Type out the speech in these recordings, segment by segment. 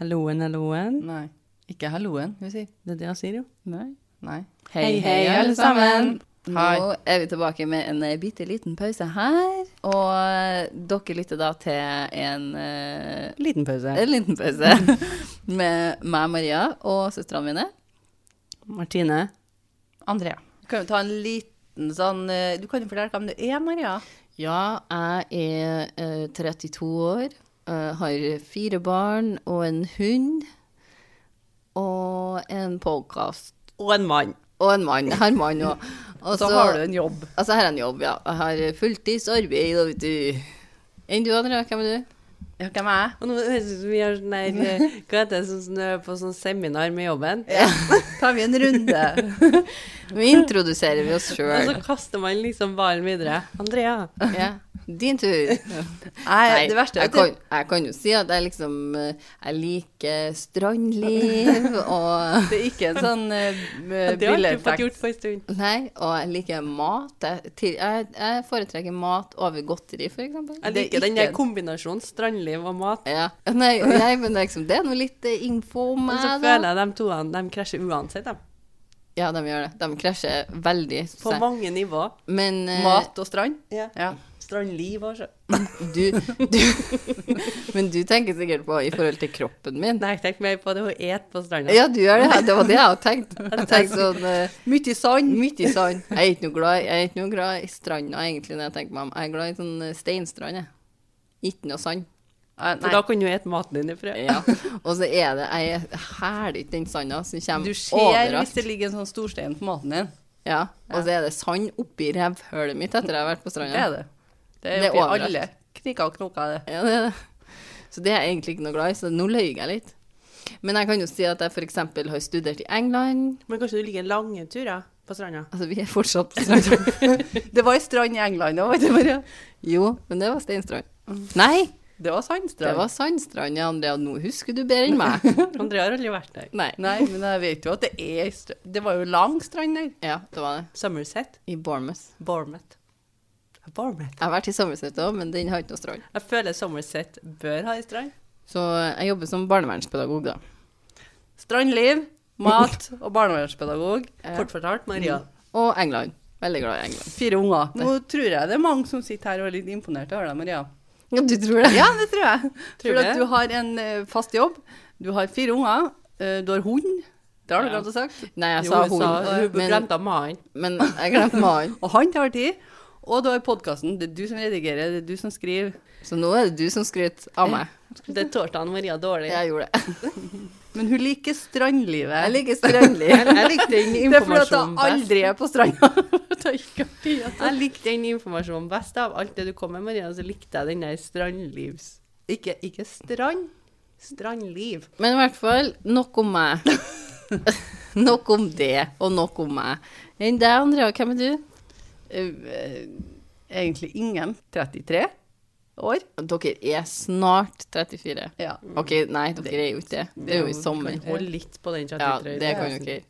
Halloen, halloen. Nei. Ikke halloen, hun sier. Det er det han sier, jo. Nei. Nei. Hei, hei, alle sammen. Hei. Nå er vi tilbake med en eh, bitte liten pause her. Og eh, dere lytter da til en eh, Liten pause. en liten pause med meg, Maria, og søstrene mine. Martine. Andrea. Kan vi ta en liten sånn eh, Du kan jo fortelle hvem du er, Maria. Ja, jeg er eh, 32 år, eh, har fire barn og en hund. Og en podkast. Og en mann. Og en mann. Jeg har mann òg. Og Så har du en jobb. Altså, her er en jobb, ja. Jeg har fulltidsarbeid, da, vet du. Enn du, Andrea? Hvem er du? Ja, Hvem er jeg? Og nå høres det ut som vi har sånn her eh, Hva heter det som sånn, eh, på sånn seminar med jobben? Tar vi en runde? Altså- Nå introduserer vi oss Og så sjøl. kaster man liksom ballen videre. Andrea. Ja. Din tur. Nei, det verste er jeg, at kan, jeg kan jo si at jeg liksom eh, Jeg liker strandliv og det er ikke en sånn uh, Det har ikke fått gjort på en stund. Nei, og jeg liker mat. Jeg, til- jeg, jeg foretrekker mat over godteri, for eksempel. Jeg Det er liker den ikke der en- kombinasjonen strandliv og mat. Ja. Nei, nei, men det er, liksom, det er noe litt eh, info om Og så meg, føler da. jeg de to de krasjer uansett, de. Ja, de gjør det. De krasjer veldig. På sterkt. mange nivåer. Men eh, Mat og strand? Ja. Ja. Strandliv og så. du, du Men du tenker sikkert på i forhold til kroppen min. Nei, tenk mer på det hun et på stranda. Ja, du gjør det. ja. Det var det jeg hadde tenkt. Jeg tenkte sånn eh, Mye sand. Mye sand. Jeg er ikke noe glad, jeg er ikke noe glad i stranda, egentlig, når jeg tenker meg om. Jeg er glad i sånn eh, steinstrand, jeg. Ikke noe sand. Eh, For da kan du et maten din ifra. Ja. Og så er det Jeg hæler ikke den sanda som kommer Du ser hvis overalt. det ligger en sånn storstein på maten din. Ja. Og så er det sand oppi revhølet mitt etter jeg har vært på Det stranda. er det. Det er Det er oppi overalt. alle kniker og knoker. Det. Ja, det er det. Så det er jeg egentlig ikke noe glad i, så nå løy jeg litt. Men jeg kan jo si at jeg f.eks. har studert i England. Men kanskje du liker lange turer på stranda? Altså, vi er fortsatt på stranda. det var ei strand i England òg, vet du, Maria. Jo, men det var steinstrand. Nei, Det var det sandstrand. var sandstrand, ja, Andrea. Nå husker du bedre enn meg. Andrea har aldri vært der. Nei. Nei, men jeg vet jo at det er ei strand Det var jo lang strand der. Ja, det var det. Somerset. I Bournemouth. Bournemouth. Bournemouth. Jeg har vært i Somerset òg, men den har ikke noe strand. Jeg føler Somerset bør ha ei strand. Så jeg jobber som barnevernspedagog, da. Strandliv, mat og barnevernspedagog. Ja. Mm, Kort fortalt, Maria. Og England. Veldig glad i England. Fire unger. Nå tror jeg det er mange som sitter her og er litt imponert over deg, Maria. Ja, du tror det? Ja, det tror jeg. Tror For det. at du har en eh, fast jobb, du har fire unger, eh, du har hund. Det har du Ja. glemt å sagt. Nei, jeg Jo, sa hun hun. sa- hun men, glemte av mannen. men jeg glemte mannen. Og han tar tid. Og du har podkasten. Det er du som redigerer, det er du som skriver. Så nå er det du som skryter av meg. Det tålte han Maria dårlig. Jeg gjorde det. Men hun liker strandlivet. Jeg liker strandliv. Jeg likte den det er fordi at informasjonen hun best. aldri er på stranda. Det er ikke artig, altså. Jeg likte den informasjonen best av alt det du kom med, Maria. Så likte jeg den der strandlivs... Ikke, ikke strand. Strandliv. Men i hvert fall, nok om meg. Nok om det, og nok om meg. Enn deg, Andrea, hvem er du? Eh, eh, Egentlig ingen. 33 år. Dere er snart 34. Ja. OK, nei, dere er jo ikke det. Det er jo i sommer. Hold litt på den Ja, 33. det kan dere.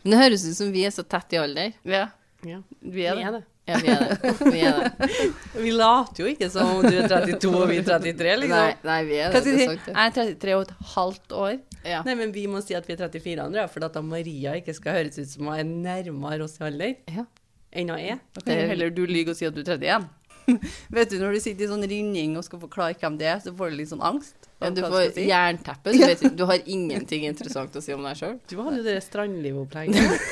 Men det høres ut som vi er så tett i alder. ja. Ja. Vi Vi er det. er det. Ja, vi er det. Vi er det. Vi later jo ikke som om du er 32 og vi er 33, Nei, liksom. nei, vi er Hva det. det skal er jeg si? sant, Jeg det. er 33 og et halvt år. Ja. Nei, men vi må si at vi er 34 andre, for at da Maria ikke skal høres ut som hun er nærmere oss i alder Ja. enn hun er. Da kan Det- jo heller du lyge og si at du er 31. Vet du, når du sitter i sånn ringning og skal forklare hvem det er, så får du litt sånn angst. Ja, om du hva får skal si. jernteppe, så vet du, du har ingenting interessant å si om deg sjøl. Du hadde jo det strandlivopplegget.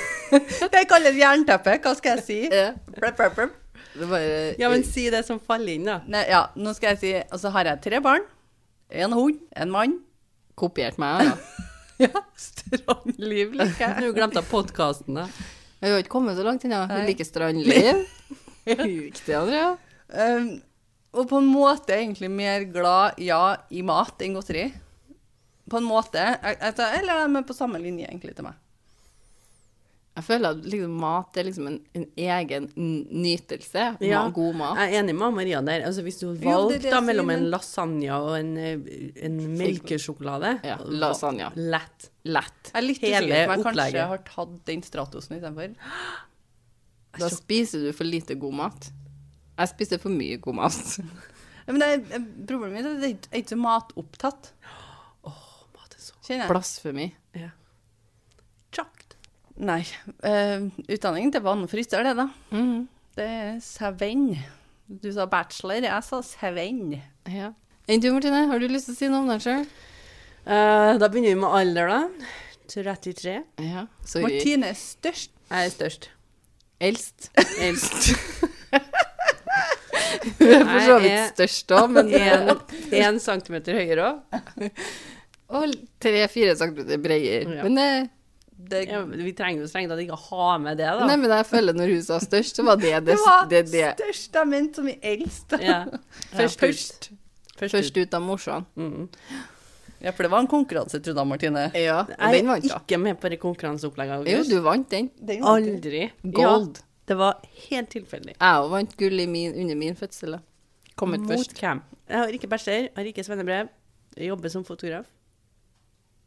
Det kalles jernteppe. Hva skal jeg si? Det Plup, plup, plup. er bare Ja, men si det som faller inn, da. Nei, ja, nå skal jeg si Og så har jeg tre barn. En hund. En mann. kopiert meg, da. Ja, strandliv liker jeg. Nå glemte jeg podkasten, da. Jeg har ikke kommet så langt ennå. Hun Nei. liker strandliv. Riktig, Andrea. Um, og på en måte egentlig mer glad ja i mat enn godteri. På en måte. Jeg, jeg, tar- eller de er på samme linje egentlig til meg. Jeg føler at liksom, mat er liksom en, en egen n- nytelse. Ja. Ja. God mat. Jeg er enig med Maria der. Altså, hvis du det er det valgte da jeg sier, mellom en men- lasagne og en, eh, en melkesjokolade Ja, lasagne. Lett. Lett. Jeg er litt Hele usikker på om jeg opplegget. kanskje har tatt den Stratosen istedenfor. Da spiser du for lite god mat. Jeg spiser for mye god mat. eh, Ja, Men det er, problemet mitt er at jeg er ikke- jeg er ikke så matopptatt. Mat er så Kjenner jeg. Blasfemi. ja. Tjakt. Nei. eh, utdanning til vannfryser, det, da. Mhm. Det er seven. Du sa bachelor, jeg sa seven. Ja. Enn du, Martine? Har du lyst til å si noe om deg sjøl? Eh, da begynner vi med alder, da. 33. Ja. Så vi- Martine er størst. Jeg er størst. eldst. Eldst. Hun er for så Jeg er- vidt størst òg, men Én centimeter høyere òg. Og tre-fire centimeter bredere. Ja. Men eh, det Det, Ja, men vi trenger jo strengt tatt ikke å ha med det, da. Nei, men jeg føler når hun sa størst, så var det det, det var det, det. størst jeg mente som i eldst. Ja. Først ja. ut. Først ut. Først ut av morsan. Mm. Ja, for det var en konkurranse, trodde jeg, Martine. Ja, og Jeg den er vant, da. ikke med på det konkurranseopplegget. Jo, August. du vant den. Den var ikke- Aldri. Gold. Ja, det var helt tilfeldig. Jeg òg vant gull i min, under min fødsel. da. Kom ut først. Mot hvem? Jeg har ikke bachelor, har ikke svennebrev, jeg jobber som fotograf.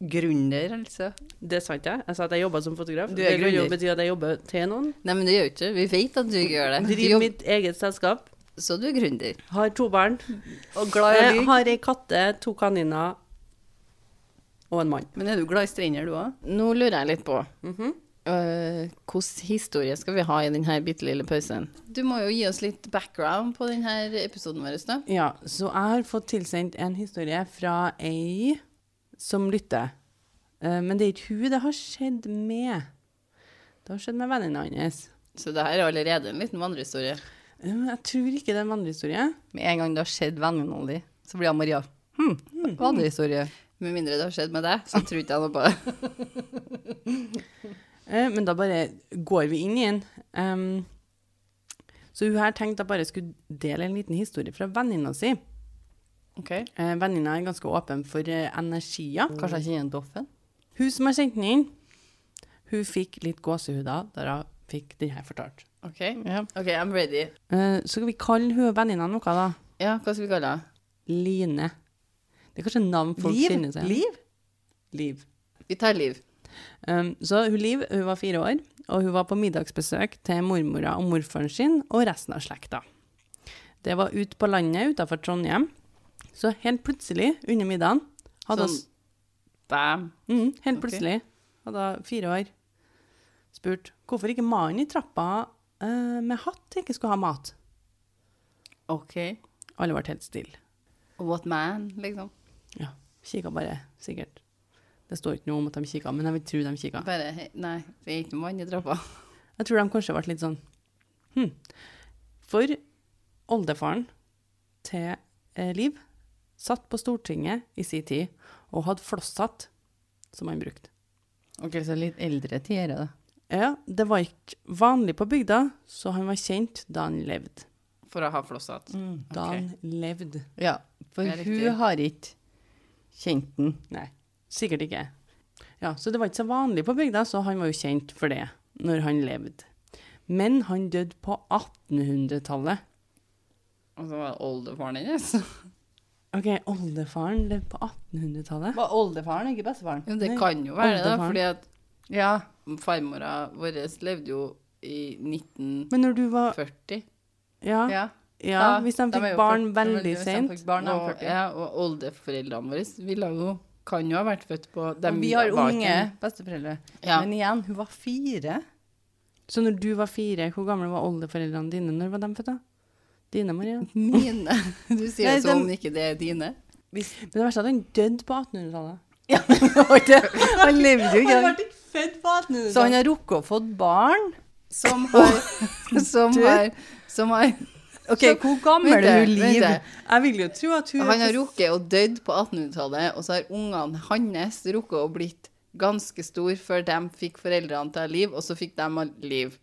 Gründer, altså. Det er sant, jeg. Jeg sa at jeg jobber som fotograf. Du er Det kan jo gründer. bety at jeg jobber til noen. Nei, men det gjør jo ikke det. Vi vet at du ikke gjør det. Du Driver jobb, mitt eget selskap. så du er gründer. Har to barn. Og glad i å Jeg lyge. har ei katte, to kaniner og en mann. Men er du glad i strender, du òg? Nå lurer jeg litt på Mhm. øh, Hvilken historie skal vi ha i denne bitte lille pausen? Du må jo gi oss litt background på denne episoden vår, da. Ja, så jeg har fått tilsendt en historie fra ei som lytter. Eh, Men det er ikke hun det har skjedd med. Det har skjedd med vennene hans. Så det her er allerede en liten vandrehistorie. Eh, Jeg tror ikke det er en vandrehistorie. Med en gang det har skjedd vennene dine, så blir jeg Maria. Hm, vandrehistorie. Hmm. Med mindre det har skjedd med deg, så tror ikke jeg noe på det. Eh, Men da bare går vi inn i den. Em, så hun her tenkte jeg bare skulle dele en liten historie fra venninna si. Ok. Eh, Venninna er ganske åpen for eh, energier. Kanskje jeg kjenner Doffen? Hun som har sendt den inn, hun fikk litt gåsehuder da hun fikk den her fortalt. OK, Ok, I'm ready. Eh, Så skal vi kalle hun venninna noe, da. Ja, hva skal vi kalle det? Line. Det er kanskje navn folk kjenner seg Liv? Liv. Vi tar Liv. Um, så hun Liv hun var fire år, og hun var på middagsbesøk til mormora og morfaren sin og resten av slekta. Det var ute på landet utafor Trondheim. Så helt plutselig, under middagen hadde Sånn, oss, Bam. mm, Helt ok. plutselig hadde hun fire år spurt hvorfor ikke mannen i trappa eh, med hatt ikke skulle ha mat. OK. Alle ble helt stille. What man, liksom. Ja, Kikka bare, sikkert. Det står ikke noe om at de kikka, men jeg vil tro de kikka. Bare he- Nei, det er ikke noen mann i trappa. Jeg tror de kanskje ble litt sånn hm. For oldefaren til eh, Liv satt på Stortinget i sin tid og hadde flosshatt som han brukte. Ok, så litt eldre tiere, da. Ja, det var ikke vanlig på bygda, så han var kjent da han levde. For å ha flosshatt. Da han levde. Ja, for Det er riktig. hun har ikke kjent den. Nei, sikkert ikke. Ja, så det var ikke så vanlig på bygda, så han var jo kjent for det når han levde. Men han døde på 1800-tallet. Og så var det oldefaren hennes. Ok, oldefaren levde på 1800-tallet. Var oldefaren, ikke bestefaren? Jo, det Nei, kan jo være det, da, oldefaren. fordi at Ja. farmora vår levde jo i 1940. Men når du var Ja, ja, Ja, hvis de de er fikk jo barn førti- veldig hvis de sent. fikk barn, de er og, 40. ja, og oldeforeldrene våre ville jo kan jo ha vært født på dem Og vi har var unge ikke- besteforeldre. Ja. Men igjen, hun var fire. Så når du var fire, hvor gamle var oldeforeldrene dine? Når var de født, da? Dine, Maria? Mine. Du sier Nei, det som dem- om ikke det er dine. Men det verste er at han døde på 1800-tallet. Han levde jo ikke. ble ikke født på Så han har rukket å få barn. Som har Som har, som har Ok, hvor gammel Vent, er hun vent, Liv? Jeg vil jo tro at hun Han har rukket å dødd på 1800-tallet, og så har ungene hans rukket å blitt ganske stor før de fikk foreldrene til liv, og så fikk de all liv.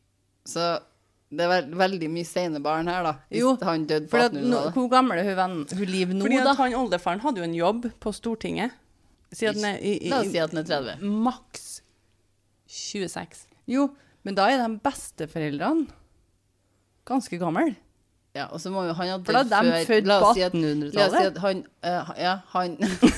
Så det er vel- veldig mye sene barn her, da, hvis Jo, han døde på For at, nå, 1800-tallet. hvor gammel er hun, venn, hun Liv nå, Fordi da? at han oldefaren hadde jo en jobb på Stortinget. Si at han er i, La oss si i, at han er 30. i maks 26. Jo, men da er de besteforeldrene ganske gamle. Ja, og så må jo han ha For da dødd er de før født La på oss si at, la oss si 1800-tallet. at han eh, Ja, han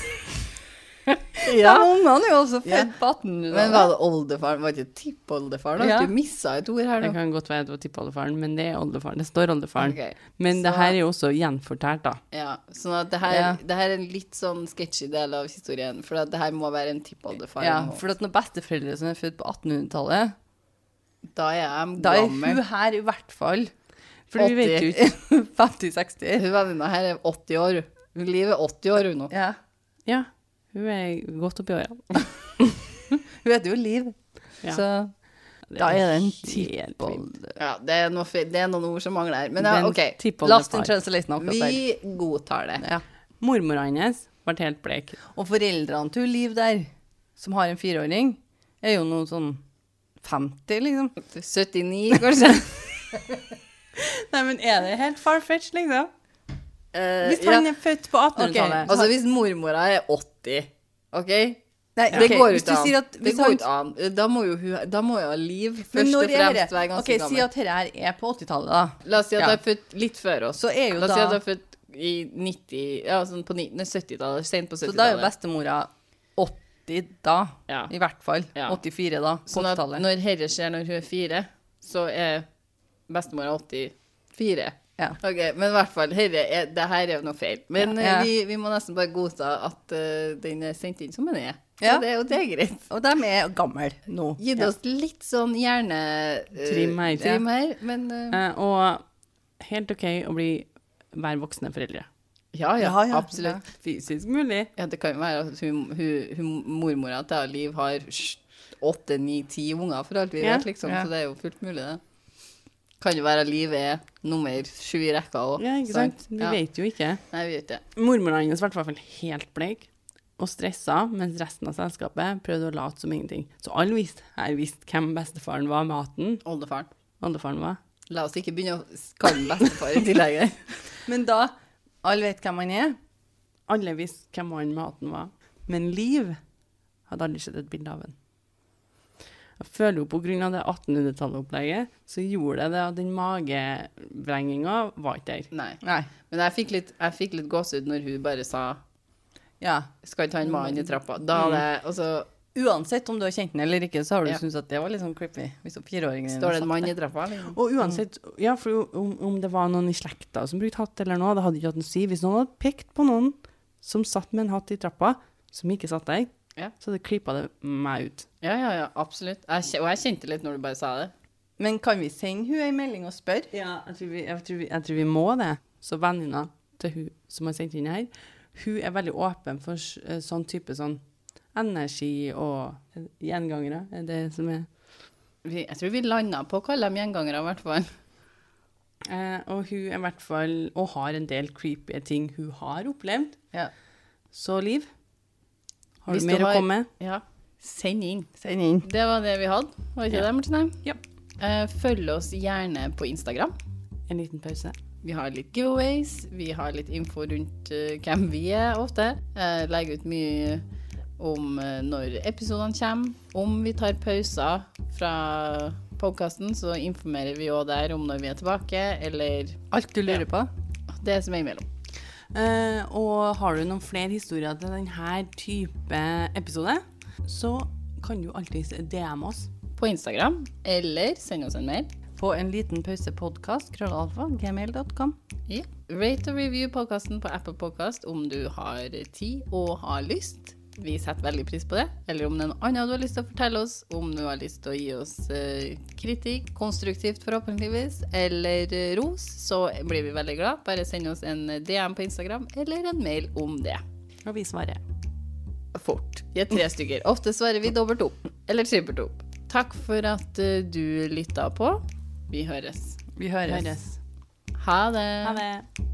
Ja. Ungene er jo også født Ja. på 1800-tallet. Men var det oldefaren? Var det ikke tippoldefaren? Ja. Ja. Du missa et ord her Det nå. kan godt være det var tippoldefaren, men det er oldefaren. Det står oldefaren. Ok. Men det Så- her er jo også gjenfortært, da. Ja, sånn at det her, Ja. det her er en litt sånn sketchy del av historien, for at det her må være en tippoldefar. Ja, nå. for at når besteforeldre som er født på 1800-tallet, da er jeg da er hun gammel. her i hvert fall For vi vet jo ikke 50-60. Hun venninna her er 80 år. Hun Liv er 80 år hun nå. Ja. Ja, hun er godt oppi åra. Hun heter jo Liv, Ja. så da er det en tippolde. Ja, det er, noe, fe- det er noen ord som mangler her. Men ja, Den OK. Last in tippoldefar. translation akkurat der. Vi godtar det. Ja. Mormora hennes ble helt blek. Og foreldrene til Liv der, som har en fireåring, er jo noen sånn 50, liksom. 79, kanskje? Nei, men er det helt far-fetched, liksom? Eh, Hvis han ja. er født på 1800-tallet. Altså, hvis mormora er 80, OK? Nei, Det ok, går jo hvis du ikke sier an. at- Det hvis går han- jo ikke an. Eh, Da må jo hun Da må jo ha Liv Men først og når er fremst det- være ganske ok, gammel. Si at dette her er på 80-tallet, da. La oss si at Ja. du er født litt før oss. Så er jo La oss si da- at du er født i 90, ja, sånn på 19 nei, 70-tallet, sent på Så da er jo 70-tallet. bestemora 80 da, Ja. i hvert fall. Ja. 84 da, på Sånn at 80-tallet. når herre skjer når hun er fire, så er bestemora 84. Ja. Ok, men i hvert fall, herre, er, det her er jo noe feil. Men Ja. eh, Vi, vi må nesten bare godta at eh, den er sendt inn som den er. Ja. Ja. Så det er jo det er greit. Og de er gamle nå. Gitt oss litt sånn hjerne... eh, Trim her. Trim her, men... eh, Eh, Og helt OK å bli hver voksne foreldre. ja, ja, Ja, ja, absolutt. Fysisk mulig. Ja, det kan jo være at hun, hun, hun mormora til Liv har sj- åtte, ni, ti unger for alt vi Ja, vet, liksom. ja. Så det er jo fullt mulig, det. Kan jo være at Liv er nummer sju i rekka òg. Ja, ikke sant? Vi vet jo ikke. Nei, vi vet det. Mormora hennes ble i hvert fall helt bleik og stressa, mens resten av selskapet prøvde å late som ingenting. Så alle visste her visste hvem bestefaren var med hatten. Oldefaren. Oldefaren var. La oss ikke begynne å kalle ham bestefar i tillegg. her. Men da Alle vet hvem han er. Alle visste hvem han med hatten var. Men Liv hadde aldri sett et bilde av han. Jeg føler jo på grunn av det 1800-tallet-opplegget, så gjorde det det at den magevrenginga var ikke der. Nei. Nei. Men jeg fikk litt, jeg fikk litt gåsehud når hun bare sa Ja. 'skal ikke han mannen i trappa'? Da hadde jeg Og så Uansett om du har kjent den eller ikke, så har du Ja. syntes at det var litt sånn creepy. Hvis opp Mm. fireåringen din står det satt en mann der. i trappa. Liksom. Mm. Og uansett, ja, for jo- om, om det var noen i slekta som brukte hatt eller noe, det hadde ikke hatt noe å si. Hvis noen hadde pekt på noen som satt med en hatt i trappa, som ikke satt der, Ja. så hadde klippa det meg ut. Ja, ja, ja, absolutt. Jeg, kje- og jeg kjente litt når du bare sa det. Men kan vi sende hun ei melding og spørre? Ja, jeg tror vi, jeg tror vi, jeg tror vi må det. Så venninna til hun som har sendt inn her, hun er veldig åpen for s- eh, sånn type sånn energi og eh, gjengangere. Er det som er Vi, jeg tror vi landa på å kalle dem gjengangere, i hvert fall. eh, Og hun er i hvert fall Og har en del creepy ting hun har opplevd. Ja. Så Liv, har Hvis du mer du har- å komme med? Ja. Send inn. Send inn. Det var det vi hadde. Var ikke Ja. det, Martinheim? Ja. Eh, følg oss gjerne på Instagram. En liten pause. Vi har litt giveaways. Vi har litt info rundt eh, hvem vi er ofte. Eh, legger ut mye om eh, når episodene kommer. Om vi tar pauser fra podkasten, så informerer vi òg der om når vi er tilbake, eller Alt du lurer på. det som er imellom. Eh, og har du noen flere historier til denne type episode, så kan du alltid DM oss. På Instagram, eller send oss en mail. På en liten pause podkast, krøllalfa, gmail.com. Ja. Rate og review podkasten på Apple Podcast om du har tid og har lyst. Vi setter veldig pris på det. Eller om det er noe annet du har lyst til å fortelle oss. Om du har lyst til å gi oss eh, kritikk, konstruktivt forhåpentligvis, eller eh, ros, så blir vi veldig glad. Bare send oss en DM på Instagram eller en mail om det. Og vi svarer. Fort. Vi er tre stykker. Ofte svarer vi dobbelt opp. Eller trippelt opp. Takk for at eh, du lytta på. Vi høres. Vi høres. Høres. Ha det. Ha det.